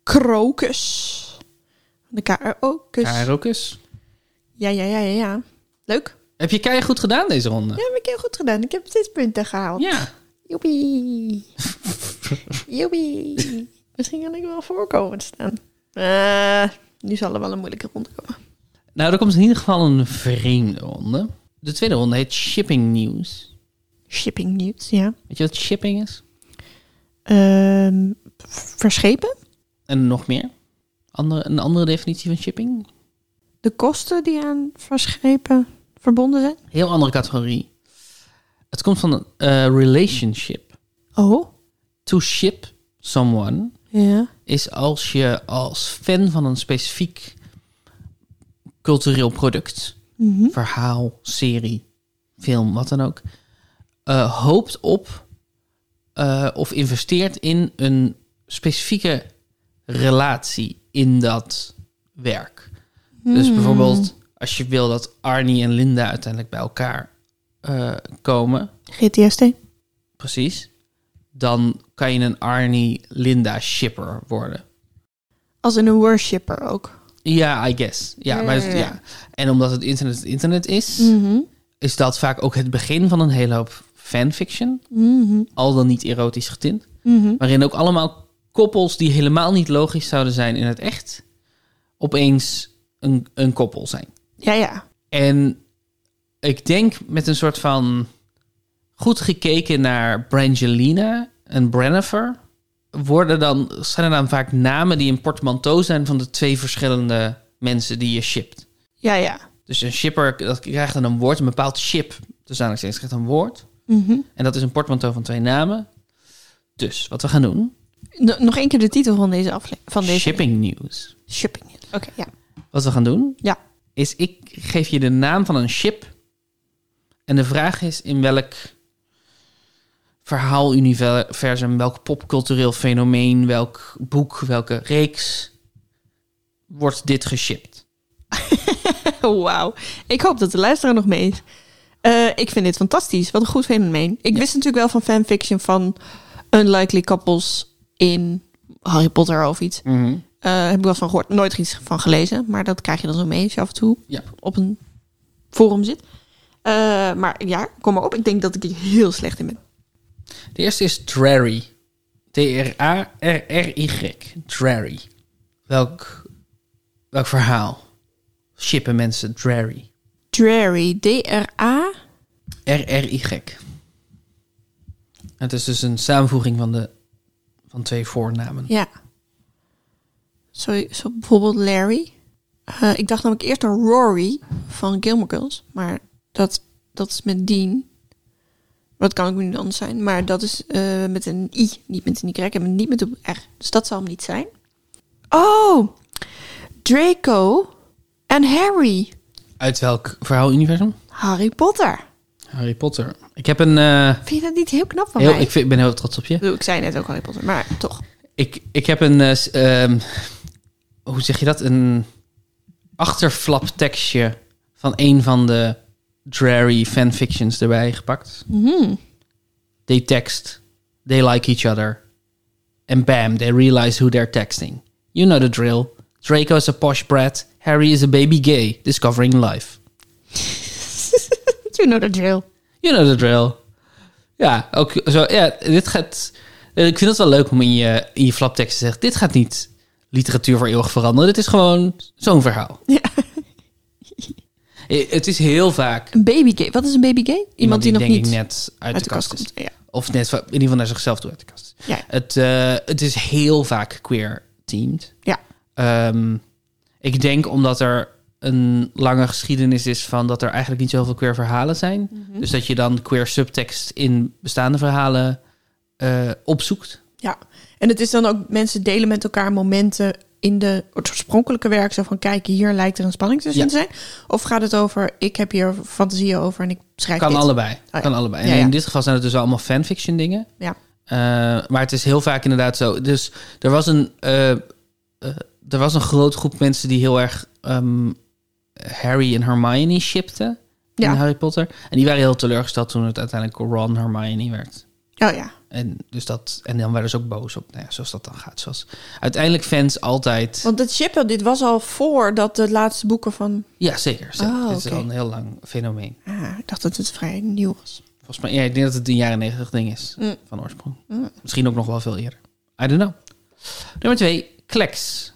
Krokus. De K-R-O-kus. Karokus. Ja, ja, ja, ja, ja. Leuk. Heb je keihard goed gedaan deze ronde? Ja, heb ik heel goed gedaan. Ik heb zes punten gehaald. Ja. Joepie. Joepie. Misschien kan ik wel voorkomen staan. Eh, nu zal er wel een moeilijke ronde komen. Nou, er komt in ieder geval een vreemde ronde. De tweede ronde heet Shipping News. Shipping nieuws, ja. Weet je wat shipping is? ehm, verschepen. En nog meer? Andere, een andere definitie van shipping? De kosten die aan verschepen verbonden zijn. Heel andere categorie. Het komt van eh, relationship. Oh, To ship someone ja. is als je als fan van een specifiek cultureel product Mhm. verhaal, serie, film, wat dan ook, eh, hoopt op eh, of investeert in een specifieke relatie in dat werk. Dus bijvoorbeeld als je wil dat Arnie en Linda uiteindelijk bij elkaar eh, komen, GTST. precies, dan kan je een Arnie-Linda-shipper worden. Als in een worshipper ook. Ja, I guess. Ja, Ja, maar ja, het- ja. ja. En omdat het internet het internet is, Mhm. is dat vaak ook het begin van een hele hoop fanfiction, Mhm. al dan niet erotisch getint, Mhm. waarin ook allemaal koppels die helemaal niet logisch zouden zijn in het echt, opeens een, een koppel zijn. Ja, ja. En ik denk met een soort van goed gekeken naar Brangelina en Brennifer, worden dan, zijn er dan vaak namen die een portmanteau zijn van de twee verschillende mensen die je shipt. Ja, ja. Dus een shipper dat krijgt dan een woord, een bepaald ship. Dus aan steeds krijgt een woord. Mhm. En dat is een portmanteau van twee namen. Dus wat we gaan doen: N- Nog één keer de titel van deze aflevering. Van deze shipping news. Shipping. Oké, ja. (laughs) Wat we gaan doen Ja. is: ik geef je de naam van een ship. En de vraag is in welk verhaaluniversum, welk popcultureel fenomeen, welk boek, welke reeks wordt dit geshipped? Oh, Wauw. Ik hoop dat de luisteraar nog mee is. Eh, ik vind dit fantastisch. Wat een goed fenomeen. Ik wist natuurlijk wel van fanfiction van unlikely couples in Harry Potter of iets. Eh, heb ik wel van gehoord. Nooit er iets van gelezen. Maar dat krijg je dan zo mee als je af en toe Ja. op een forum zit. Eh, maar ja, kom maar op. Ik denk dat ik hier heel slecht in ben. De eerste is Drarry. D-R-A-R-R-Y. Drarry. Welk, welk verhaal shippen mensen Drarry? Dreary. D-R-A. R-R-Y. Het is dus een samenvoeging van, de, van twee voornamen. Ja. Zo, zo bijvoorbeeld Larry. Eh, ik dacht namelijk eerst aan Rory van Gilmore Girls. Maar dat, dat is met Dean. Dat kan ook niet anders zijn. Maar dat is eh, met een I, niet met een Y en niet met een R. Dus dat zal hem niet zijn. Oh! Draco en Harry. Uit welk verhaaluniversum? Harry Potter. Harry Potter. Ik heb een... eh, Vind je dat niet heel knap van heel, mij? ik, vind- ik ben heel trots op je. Ik bedoel, ik zei net ook Harry Potter, maar toch. (laughs) Ik, ik heb een... eh, s- ehm, hoe zeg je dat? Een achterflaptekstje van een van de Drarry fanfictions erbij gepakt. Mhm. They text. They like each other. And bam, they realize who they're texting. You know the drill. Draco is a posh brat. Harry is a baby gay, discovering life. you know the drill. You know the drill. Ja, ook zo. Ja, dit gaat. eh, Ik vind het wel leuk om in je, in je flaptekst te zeggen: dit gaat niet literatuur voor eeuwig veranderen. Dit is gewoon zo'n verhaal. Ja. Eh, Het is heel vaak Een baby gay. Wat is een baby gay? Iemand, iemand die, nog denk niet ik net uit, de, kast, is. komt. Ja. Of net van- in ieder geval naar zichzelf toe uit de kast. Ja. Het, eh, het is heel vaak queer teamed. Ja. Ehm, ik denk omdat er een lange geschiedenis is van dat er eigenlijk niet zoveel queer verhalen zijn. Mhm. Dus dat je dan queer subtekst in bestaande verhalen eh, opzoekt. ja. En het is dan ook mensen delen met elkaar momenten in de het oorspronkelijke werk. Zo van kijk, hier lijkt er een spanning tussen Ja. te zijn. Of gaat het over, ik heb hier fantasieën over en ik schrijf Kan dit. Oh allebei. ja. Kan allebei. En Ja, ja. in dit geval zijn het dus allemaal fanfiction dingen. Ja. Eh, maar het is heel vaak inderdaad zo. Dus er was een, eh, eh, er was een grote groep mensen die heel erg ehm, Harry en Hermione shipten Ja. in Harry Potter. En die waren heel teleurgesteld toen het uiteindelijk Ron Hermione werd. Oh ja. En, dus dat, en dan werden ze ook boos op, nou ja, zoals dat dan gaat. Zoals uiteindelijk fans altijd... Want dat shippen, dit was al voordat de laatste boeken van... Ja, zeker. zeker. Ah, Het is oké. al een heel lang fenomeen. Ah, ik dacht dat het vrij nieuw was. Volgens mij, ja, ik denk dat het een jaren negentig ding is Mm. van oorsprong. Mm. Misschien ook nog wel veel eerder. I don't know. Nummer twee, Kleks.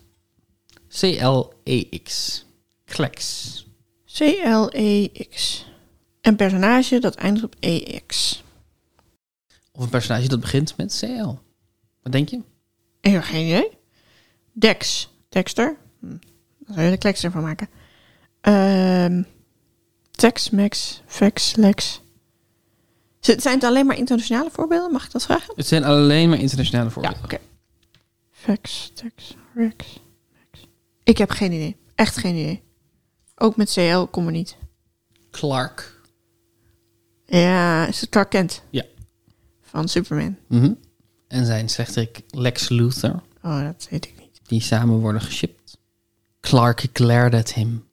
C-L-E-X. Kleks. C-L-E-X. E Een E personage dat eindigt op E-X. Of een personage dat begint met CL. Wat denk je? Ik heb geen idee. Dex. Dexter. Hm. Daar zou je de klekster van maken. Ehm Tex, Max, Vex, Lex. Z- Zijn het alleen maar internationale voorbeelden? Mag ik dat vragen? Het zijn alleen maar internationale Ja, voorbeelden. oké. Vex, Tex, Rex, Max. Ik heb geen idee. Echt geen idee. Ook met CL komen we niet. Clark. Ja, is het Clark Kent? Ja. Van Superman. Mhm. En zijn slechterik Lex Luthor, Oh, dat weet ik niet. die samen worden geshipped. Clark glared at him.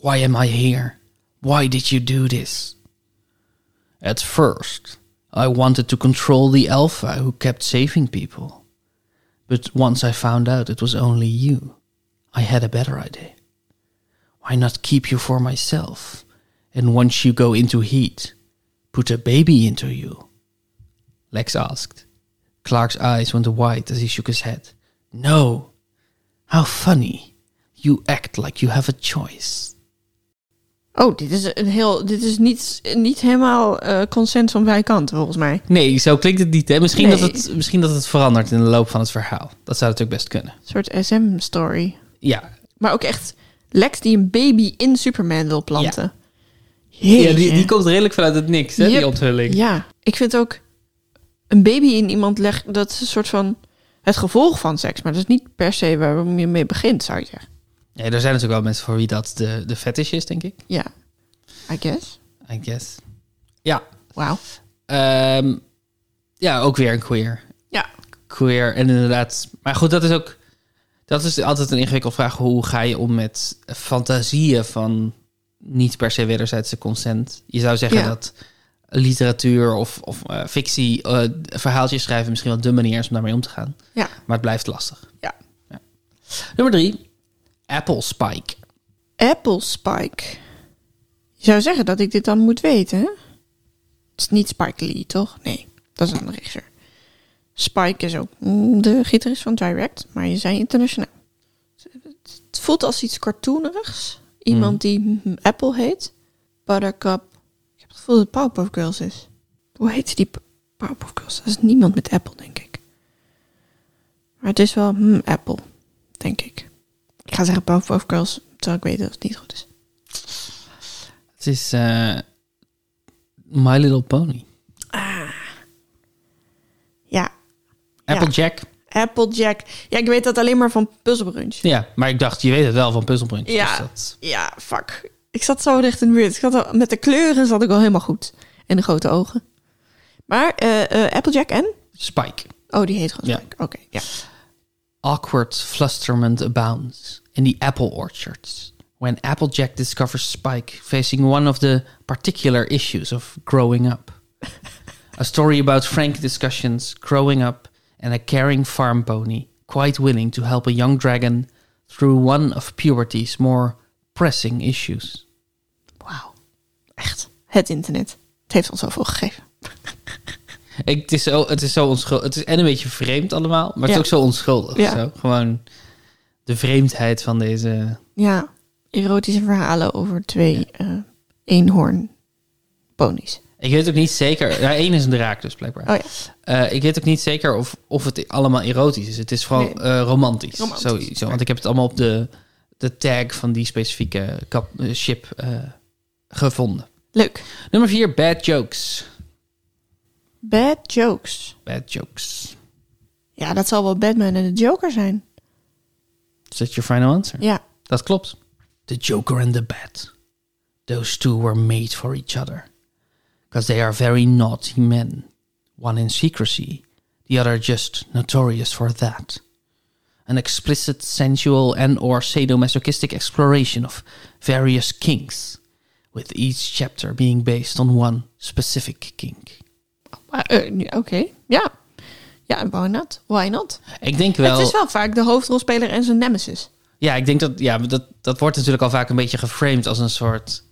Why am I here? Why did you do this? At first, I wanted to control the Alpha who kept saving people. But once I found out it was only you, I had a better idea. Why not keep you for myself? And once you go into heat, put a baby into you? Lex asked. Clark's eyes went wide as he shook his head. No! How funny! You act like you have a choice. Oh, dit is een heel. Dit is niet, niet helemaal eh, consent van beide kanten, volgens mij. Nee, zo klinkt het niet. Hè? Misschien, Nee. dat het, misschien dat het verandert in de loop van het verhaal. Dat zou natuurlijk best kunnen. Een soort SM-story. Ja, Maar ook echt Lex die een baby in Superman wil planten. Jeetje. ja die, die komt redelijk vanuit het niks, hè, Yep. die onthulling. Ja, ik vind ook een baby in iemand leggen, dat is een soort van het gevolg van seks. Maar dat is niet per se waarom je mee begint, zou je zeggen. Ja, er zijn natuurlijk wel mensen voor wie dat de, de fetish is, denk ik. Ja, I guess. I guess. Ja, Wauw. ehm, ja ook weer een queer. Ja. queer en inderdaad. Maar goed, dat is ook. Dat is altijd een ingewikkelde vraag. Hoe ga je om met fantasieën van niet per se wederzijdse consent? Je zou zeggen Ja. dat literatuur of, of eh, fictie, eh, verhaaltjes schrijven misschien wel de manier is om daarmee om te gaan. Ja. Maar het blijft lastig. Ja. Ja. Nummer drie, Apple Spike. Apple Spike. Je zou zeggen dat ik dit dan moet weten, hè? Het is niet Spike Lee, toch? Nee, dat is een andere regisseur. Spike is ook mm, de gitarist van Direct, maar je zei internationaal. Het voelt als iets cartoonerigs. Iemand die mm, Apple heet. Buttercup. Ik heb het gevoel dat het Powerpuff Girls is. Hoe heet die P- Powerpuff Girls? Dat is niemand met Apple, denk ik. Maar het is wel mm, Apple, denk ik. Ik ga zeggen Powerpuff Girls, terwijl ik weet dat het niet goed is. Het is eh, My Little Pony. Ja, Applejack. Applejack. Ja, ik weet dat alleen maar van Puzzlebrunch. Ja. maar ik dacht, je weet het wel van Puzzlebrunch. Ja. Dus dat... Ja, fuck. Ik zat zo recht in de buurt. Ik zat al- met de kleuren zat ik al helemaal goed. En de grote ogen. Maar eh, eh, Applejack en? Spike. Oh, die heet gewoon Ja. Spike. Oké, ja. awkward flusterment abounds in the apple orchards when Applejack discovers Spike facing one of the particular issues of growing up. a story about frank discussions, growing up, and a caring farm pony quite willing to help a young dragon through one of puberty's more pressing issues. Wauw. Echt. Het internet. Het heeft ons zoveel gegeven. Ik, het, is zo, het is zo onschuldig. Het is en een beetje vreemd allemaal, maar het Ja. is ook zo onschuldig. Ja. Zo. Gewoon de vreemdheid van deze Ja, erotische verhalen over twee eh eenhoorn ponies. Ik weet ook niet zeker. Ja, één is een draak dus blijkbaar. Oh ja. Eh, ik weet ook niet zeker of, of het allemaal erotisch is. Het is vooral Nee. eh, romantisch. Romantisch. Sowieso. Want ik heb het allemaal op de, de tag van die specifieke kap, eh, ship eh, gevonden. Leuk. Nummer vier, bad jokes. Bad jokes. Bad jokes. Ja, dat zal wel Batman en de Joker zijn. Is dat your final answer? Ja. Dat klopt. The Joker and the Bat. Those two were made for each other. Because they are very naughty men. One in secrecy, the other just notorious for that. An explicit, sensual and or sadomasochistic exploration of various kinks. With each chapter being based on one specific kink. Maar, eh, nu- Oké, ja. Ja, why not? Why not? Ik denk wel... Het is wel vaak de hoofdrolspeler en zijn nemesis. Ja, ik denk dat, ja, dat dat wordt natuurlijk al vaak een beetje geframed als een soort.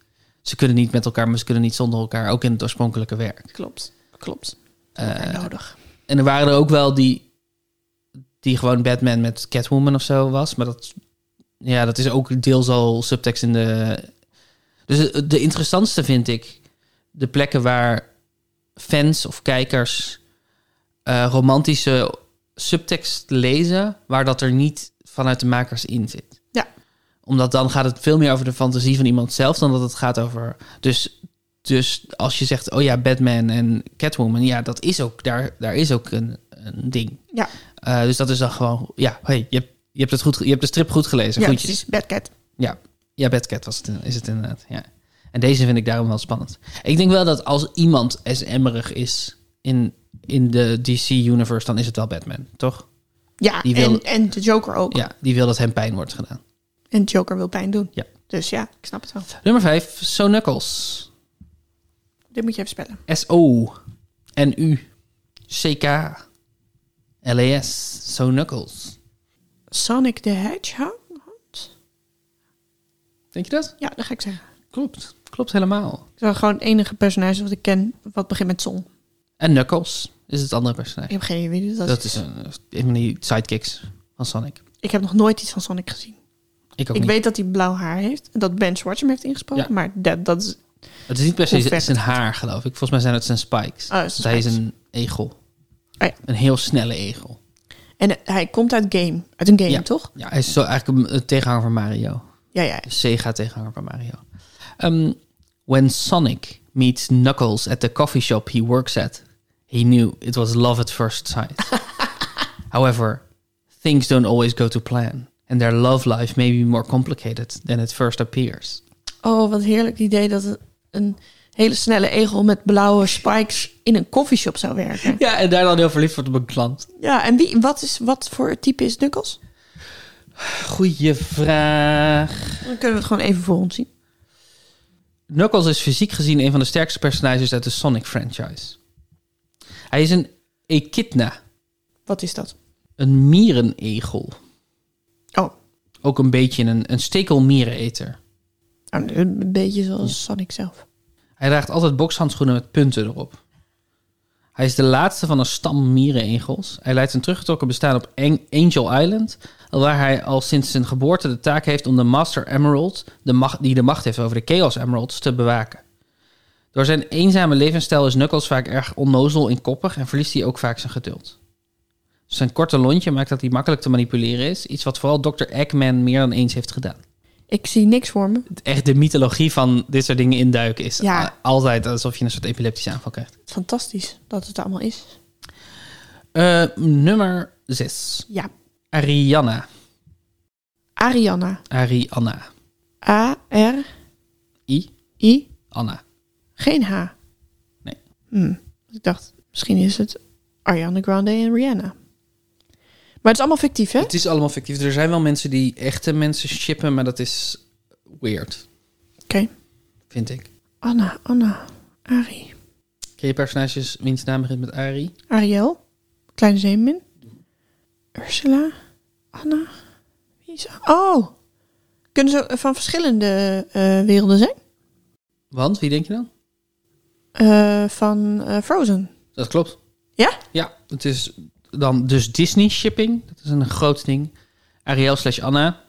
Ze kunnen niet met elkaar, maar ze kunnen niet zonder elkaar. Ook in het oorspronkelijke werk. Klopt, klopt. Eh, nodig. en er waren er ook wel die. die gewoon Batman met Catwoman of zo was. Maar dat. Ja, dat is ook deels al subtext in de. Dus de- de interessantste vind ik. de plekken waar fans of kijkers. eh, romantische subtekst lezen waar dat er niet vanuit de makers in zit. Ja. Omdat dan gaat het veel meer over de fantasie van iemand zelf dan dat het gaat over. Dus, dus als je zegt, oh ja, Batman en Catwoman, ja, dat is ook, daar, daar is ook een, een ding. Ja. Eh, dus dat is dan gewoon, ja, hey, je, hebt, je, hebt het goed, ge- je hebt de strip goed gelezen. Ja, groetjes. precies. Bad Cat. Ja, Batcat was het, is het inderdaad. Ja. En deze vind ik daarom wel spannend. Ik denk wel dat als iemand SM'erig is in, in de DC-universe, dan is het wel Batman, toch? Ja, Die wil- en, en de Joker ook. Ja, die wil dat hem pijn wordt gedaan. En Joker wil pijn doen. Ja. Dus ja, ik snap het wel. Nummer 5, So Knuckles. Dit moet je even spellen. S-O. N-U. C-K. L-E-S. E So Knuckles. Sonic the Hedgehog? Denk je dat? Ja, dat ga ik zeggen. Klopt. Klopt helemaal. Ik zou gewoon het enige personage wat ik ken wat begint met Son. En Knuckles is het andere personage. Ik heb geen idee wie dat, is. Dat is een, een van die sidekicks van Sonic. Ik heb nog nooit iets van Sonic gezien. Ik ook Ik niet. weet dat hij blauw haar heeft. En dat Ben Schwartz hem heeft ingesproken. Ja. Maar dat, dat is... Het is niet per se Hoe ver zijn, het haar, geloof ik. Volgens mij zijn het zijn spikes. Oh, het Want is hij is een spijt. een egel. Oh ja. Een heel snelle egel. En eh, hij komt uit game. Uit een game, Ja. toch? Ja, hij is zo eigenlijk een, een tegenhanger van Mario. Ja, ja. Een Sega-tegenhanger van Mario. Ehm, when Sonic meets Knuckles at the coffee shop he works at, he knew it was love at (laughs) first sight. However, things don't always go to plan. And their love life may be more complicated than it first appears. Oh, wat heerlijk idee dat een- een hele snelle egel met blauwe spikes in een coffeeshop zou werken. Ja, en daar dan heel verliefd wordt op een klant. (laughs) Ja, en wie, wat, is, wat voor type is Knuckles? Goeie vraag. Dan kunnen we het gewoon even voor ons zien. Knuckles is fysiek gezien een van de sterkste personages uit de Sonic franchise. Hij is een echidna, Wat is dat? een mierenegel. Oh, Ook een beetje een, een stekelmiereneter. nou, een beetje zoals Sonic zelf. Hij draagt altijd bokshandschoenen met punten erop. Hij is de laatste van een stam mierenegels. Hij leidt een teruggetrokken bestaan op Eng- Angel Island, waar hij al sinds zijn geboorte de taak heeft om de Master Emerald, de macht, die de macht heeft over de Chaos Emeralds, te bewaken. Door zijn eenzame levensstijl is Knuckles vaak erg onnozel en koppig en verliest hij ook vaak zijn geduld. Zijn korte lontje maakt dat hij makkelijk te manipuleren is, iets wat vooral Dr. Eggman meer dan eens heeft gedaan Ik zie niks voor me. echt de mythologie van dit soort dingen induiken is Ja. a- altijd alsof je een soort epileptische aanval krijgt. Fantastisch dat het allemaal is. Eh, nummer 6. Ja, Ariana. Ariana. Ariana. A-R-I. I. Anna. Geen H. Nee. Hmm. Ik dacht, misschien is het Ariana Grande en Rihanna. Maar het is allemaal fictief, hè? Het is allemaal fictief. Er zijn wel mensen die echte mensen shippen, maar dat is weird, Oké. vind ik. Anna, Anna, Ari. Ken je personages wiens naam begint met Ari? Ariel, Kleine Zeemin. Ursula, Anna. Wie is Oh! Kunnen ze van verschillende eh, werelden zijn? Want, wie denk je dan? Eh, van eh, Frozen. Dat klopt. Ja? Ja, het is dan dus Disney shipping. Dat is een groot ding. Ariel slash Anna.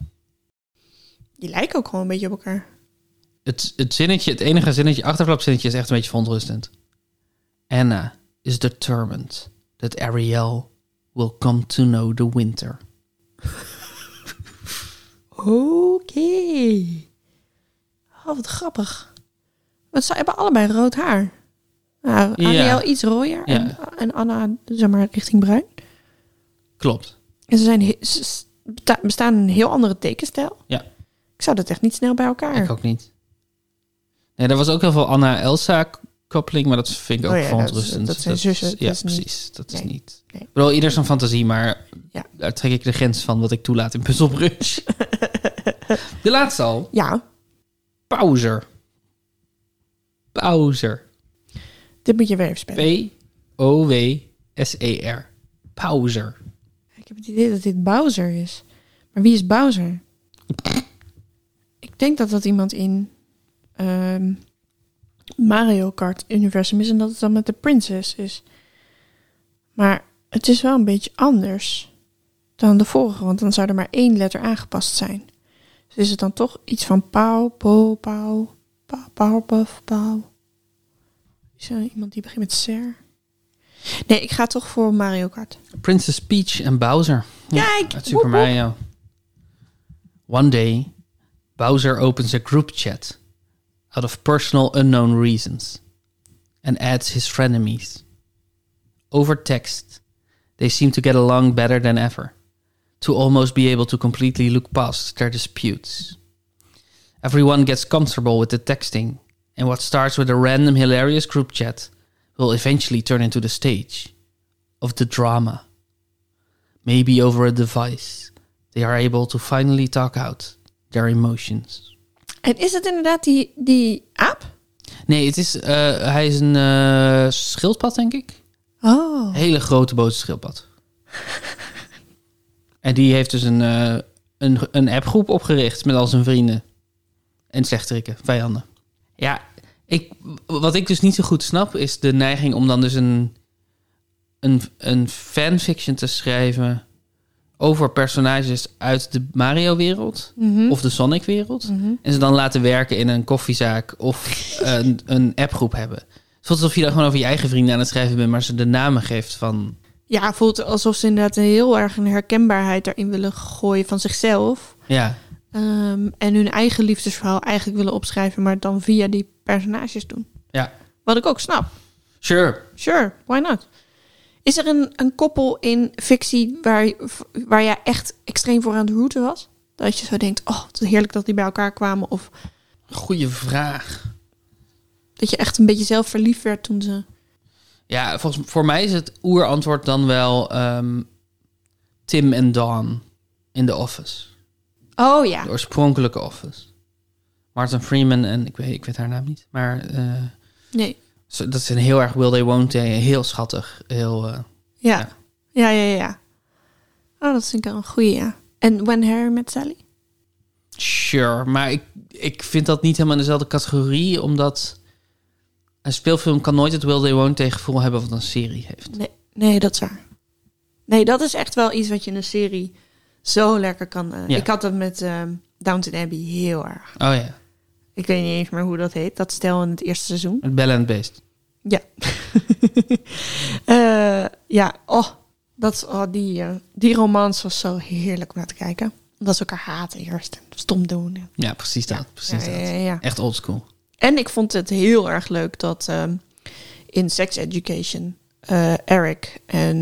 Die lijken ook gewoon een beetje op elkaar. Het, het zinnetje, het enige zinnetje, achterklapzinnetje is echt een beetje verontrustend. Anna is determined that Ariel will come to know the winter. Oké. Oh, wat grappig. Want ze hebben allebei rood haar. Nou, Ja. Ariel iets rooier en, en Anna, zeg maar, richting bruin. Klopt. En ze, zijn, he- ze s- beta- bestaan in een heel andere tekenstijl. Ja. Ik zou dat echt niet snel bij elkaar. Ik ook niet. Nee, er was ook heel veel Anna-Elsa-koppeling, maar dat vind ik ook Oh ja, dat- verontrustend. dat zijn zussen, ja, dat is niet- precies. Dat is nee, niet. nee. Ik bedoel, ieder zijn fantasie, maar Ja. daar trek ik de grens van wat ik toelaat in (laughs) Puzzlebrunch. de laatste al. Ja, Pauzer. Pauzer. dit moet je weer even spelen. P-O-W-S-E-R. Pauzer. Ik heb het idee dat dit Bowser is. Maar wie is Bowser? Ik denk dat dat iemand in ehm, Mario Kart Universum is en dat het dan met de prinses is. Maar het is wel een beetje anders dan de vorige, want dan zou er maar één letter aangepast zijn. Dus is het dan toch iets van Pauw, Po, Pauw, Pauw, Pauw, Puff, Pauw. Is er iemand die begint met Ser? Nee, ik ga toch voor Mario Kart. Princess Peach en Bowser. Ja, Kijk, Uit woep, Super woep. Mario. One day, Bowser opens a group chat out of personal unknown reasons and adds his frenemies. Over text, they seem to get along better than ever, to almost be able to completely look past their disputes. Everyone gets comfortable with the texting, and what starts with a random hilarious group chat will eventually turn into the stage of the drama maybe over a device, they are able to finally talk out their emotions. En is het inderdaad die, die aap? Nee, het is, eh, hij is een eh, schildpad, denk ik. Oh. Hele grote boze schildpad. en die heeft dus een, eh, een, een appgroep opgericht met al zijn vrienden. En slechteriken, vijanden. Ja, ik, wat ik dus niet zo goed snap is de neiging om dan dus een, een, een fanfiction te schrijven over personages uit de Mario-wereld Mhm. of de Sonic-wereld. Mhm. En ze dan laten werken in een koffiezaak of (laughs) een, een appgroep hebben. Het voelt alsof je dan gewoon over je eigen vrienden aan het schrijven bent, maar ze de namen geeft van... Ja, voelt alsof ze inderdaad een heel erg een herkenbaarheid daarin willen gooien van zichzelf. Ja, Ehm, en hun eigen liefdesverhaal eigenlijk willen opschrijven, maar dan via die personages doen. Ja. Wat ik ook snap. sure. Sure, why not? Is er een, een koppel in fictie waar, waar jij echt extreem voor aan de route was? Dat je zo denkt, oh, wat heerlijk dat die bij elkaar kwamen. Of Goeie vraag. dat je echt een beetje zelf verliefd werd toen ze... Ja, volgens, voor mij is het oerantwoord dan wel ehm, Tim en Dawn in The Office. Oh ja. De oorspronkelijke Office. Martin Freeman en ik weet, ik weet haar naam niet, maar eh, Nee. ze- dat is een heel erg Will They Won't They, heel schattig, heel... eh, Ja. Ja. Ja, ja, ja. ja. Oh, dat vind ik wel een goeie, ja. En When Harry Met Sally? Sure, maar ik, ik vind dat niet helemaal in dezelfde categorie, omdat een speelfilm kan nooit het Will They Won't They gevoel hebben wat een serie heeft. Nee, nee, dat is waar. Nee, dat is echt wel iets wat je in een serie zo lekker kan... eh, Ja. Ik had dat met ehm, Downton Abbey heel erg. Oh ja, Ik weet niet eens meer hoe dat heet. Dat stel in het eerste seizoen. het Bell and Beast. Ja. (laughs) Eh, ja, oh, dat, oh die, eh, die romance was zo heerlijk om naar te kijken. Omdat ze elkaar haten eerst en stom doen. Ja, precies dat. Precies ja, dat. ja, ja, ja. Echt oldschool. En ik vond het heel erg leuk dat ehm, in Sex Education eh, Eric en,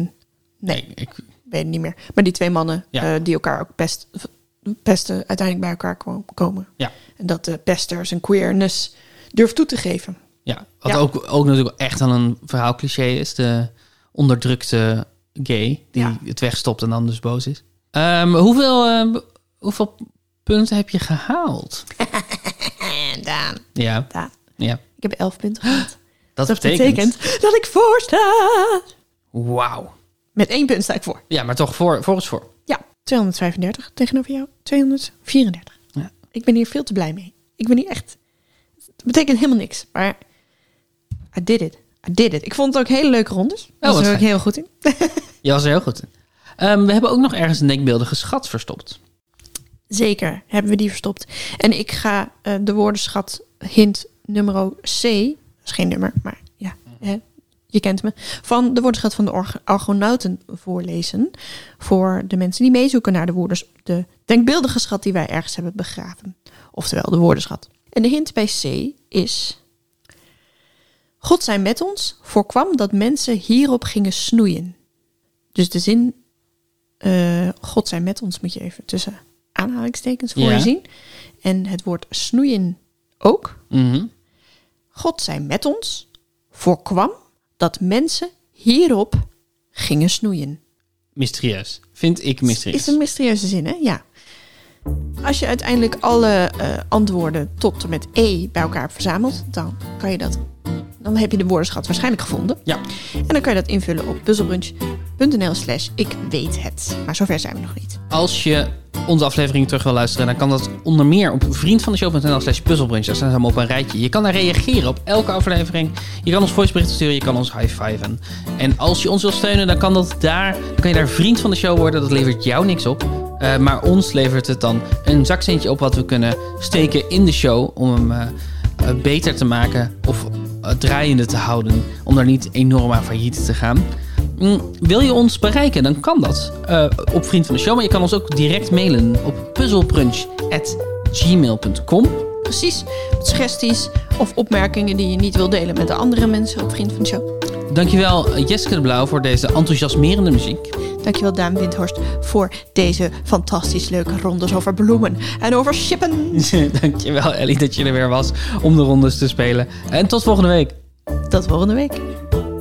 nee, Nee, ik, ik weet het niet meer, maar die twee mannen Ja. eh, die elkaar ook best, pesten, uiteindelijk bij elkaar kwam- komen. Ja. En dat de pester zijn queerness durft toe te geven. ja. Wat Ja. Ook, ook natuurlijk echt aan een verhaal cliché is, de onderdrukte gay die Ja. het wegstopt en dan dus boos is. Ehm, hoeveel, ehm, hoeveel punten heb je gehaald? En Daan. Ja, Daan. ja. Ik heb elf (gasps) punten gehad. Dat, Dat betekent... betekent, dat ik voor sta. Wauw. Met één punt sta ik voor. Ja, maar toch voor, voor ons voor. Ja, 235 tegenover jou. 234. Ja. Ik ben hier veel te blij mee. Ik ben hier echt... Het betekent helemaal niks, maar... I did it. I did it. Ik vond het ook hele leuke rondes. Daar Oh, wat was er ook fijn. heel goed in. Je was er heel goed in. Ehm, we hebben ook nog ergens een denkbeeldige schat verstopt. Zeker, hebben we die verstopt. En ik ga eh, de woordenschat hint nummer C... Dat is geen nummer, maar ja, hè, je kent me. Van de woordenschat van de Arg- Argonauten voorlezen. Voor de mensen die meezoeken naar de, woordens, de denkbeeldige schat die wij ergens hebben begraven. Oftewel de woordenschat. En de hint bij C is... God zij met ons voorkwam dat mensen hierop gingen snoeien. Dus de zin... eh, God zij met ons moet je even tussen aanhalingstekens voor Ja. je zien. En het woord snoeien ook. Mhm. God zij met ons, voorkwam dat mensen hierop gingen snoeien. Mysterieus. Vind ik mysterieus. Is een mysterieuze zin, hè? Ja. Als je uiteindelijk alle eh, antwoorden tot en met E bij elkaar hebt verzameld, dan kan je dat. Dan heb je de woordenschat waarschijnlijk gevonden. Ja. En dan kan je dat invullen op puzzelbrunch.nl slash ik weet het. Maar zover zijn we nog niet. Als je onze aflevering terug wil luisteren, dan kan dat onder meer op vriendvandeshow.nl slash puzzelbrunch. Daar staan ze allemaal op een rijtje. Je kan daar reageren op elke aflevering. Je kan ons voiceberichten sturen, je kan ons high-fiven. En als je ons wil steunen, dan kan dat daar. Dan kan je daar vriend van de show worden. Dat levert jou niks op. Eh, maar ons levert het dan een zakcentje op wat we kunnen steken in de show om hem eh, eh, beter te maken. Of eh, eh, draaiende te houden. Om daar niet enorm aan failliet te gaan. Mm, wil je ons bereiken, dan kan dat eh, op Vriend van de Show. Maar je kan ons ook direct mailen op puzzelbrunch.gmail.com. Precies. Suggesties of opmerkingen die je niet wil delen met de andere mensen op Vriend van de Show. Dankjewel eh, Jeske de Blauw voor deze enthousiasmerende muziek. Dankjewel Daan Windhorst voor deze fantastisch leuke rondes over bloemen en over shippen. Dankjewel Ellie dat je er weer was om de rondes te spelen. En tot volgende week. Tot volgende week.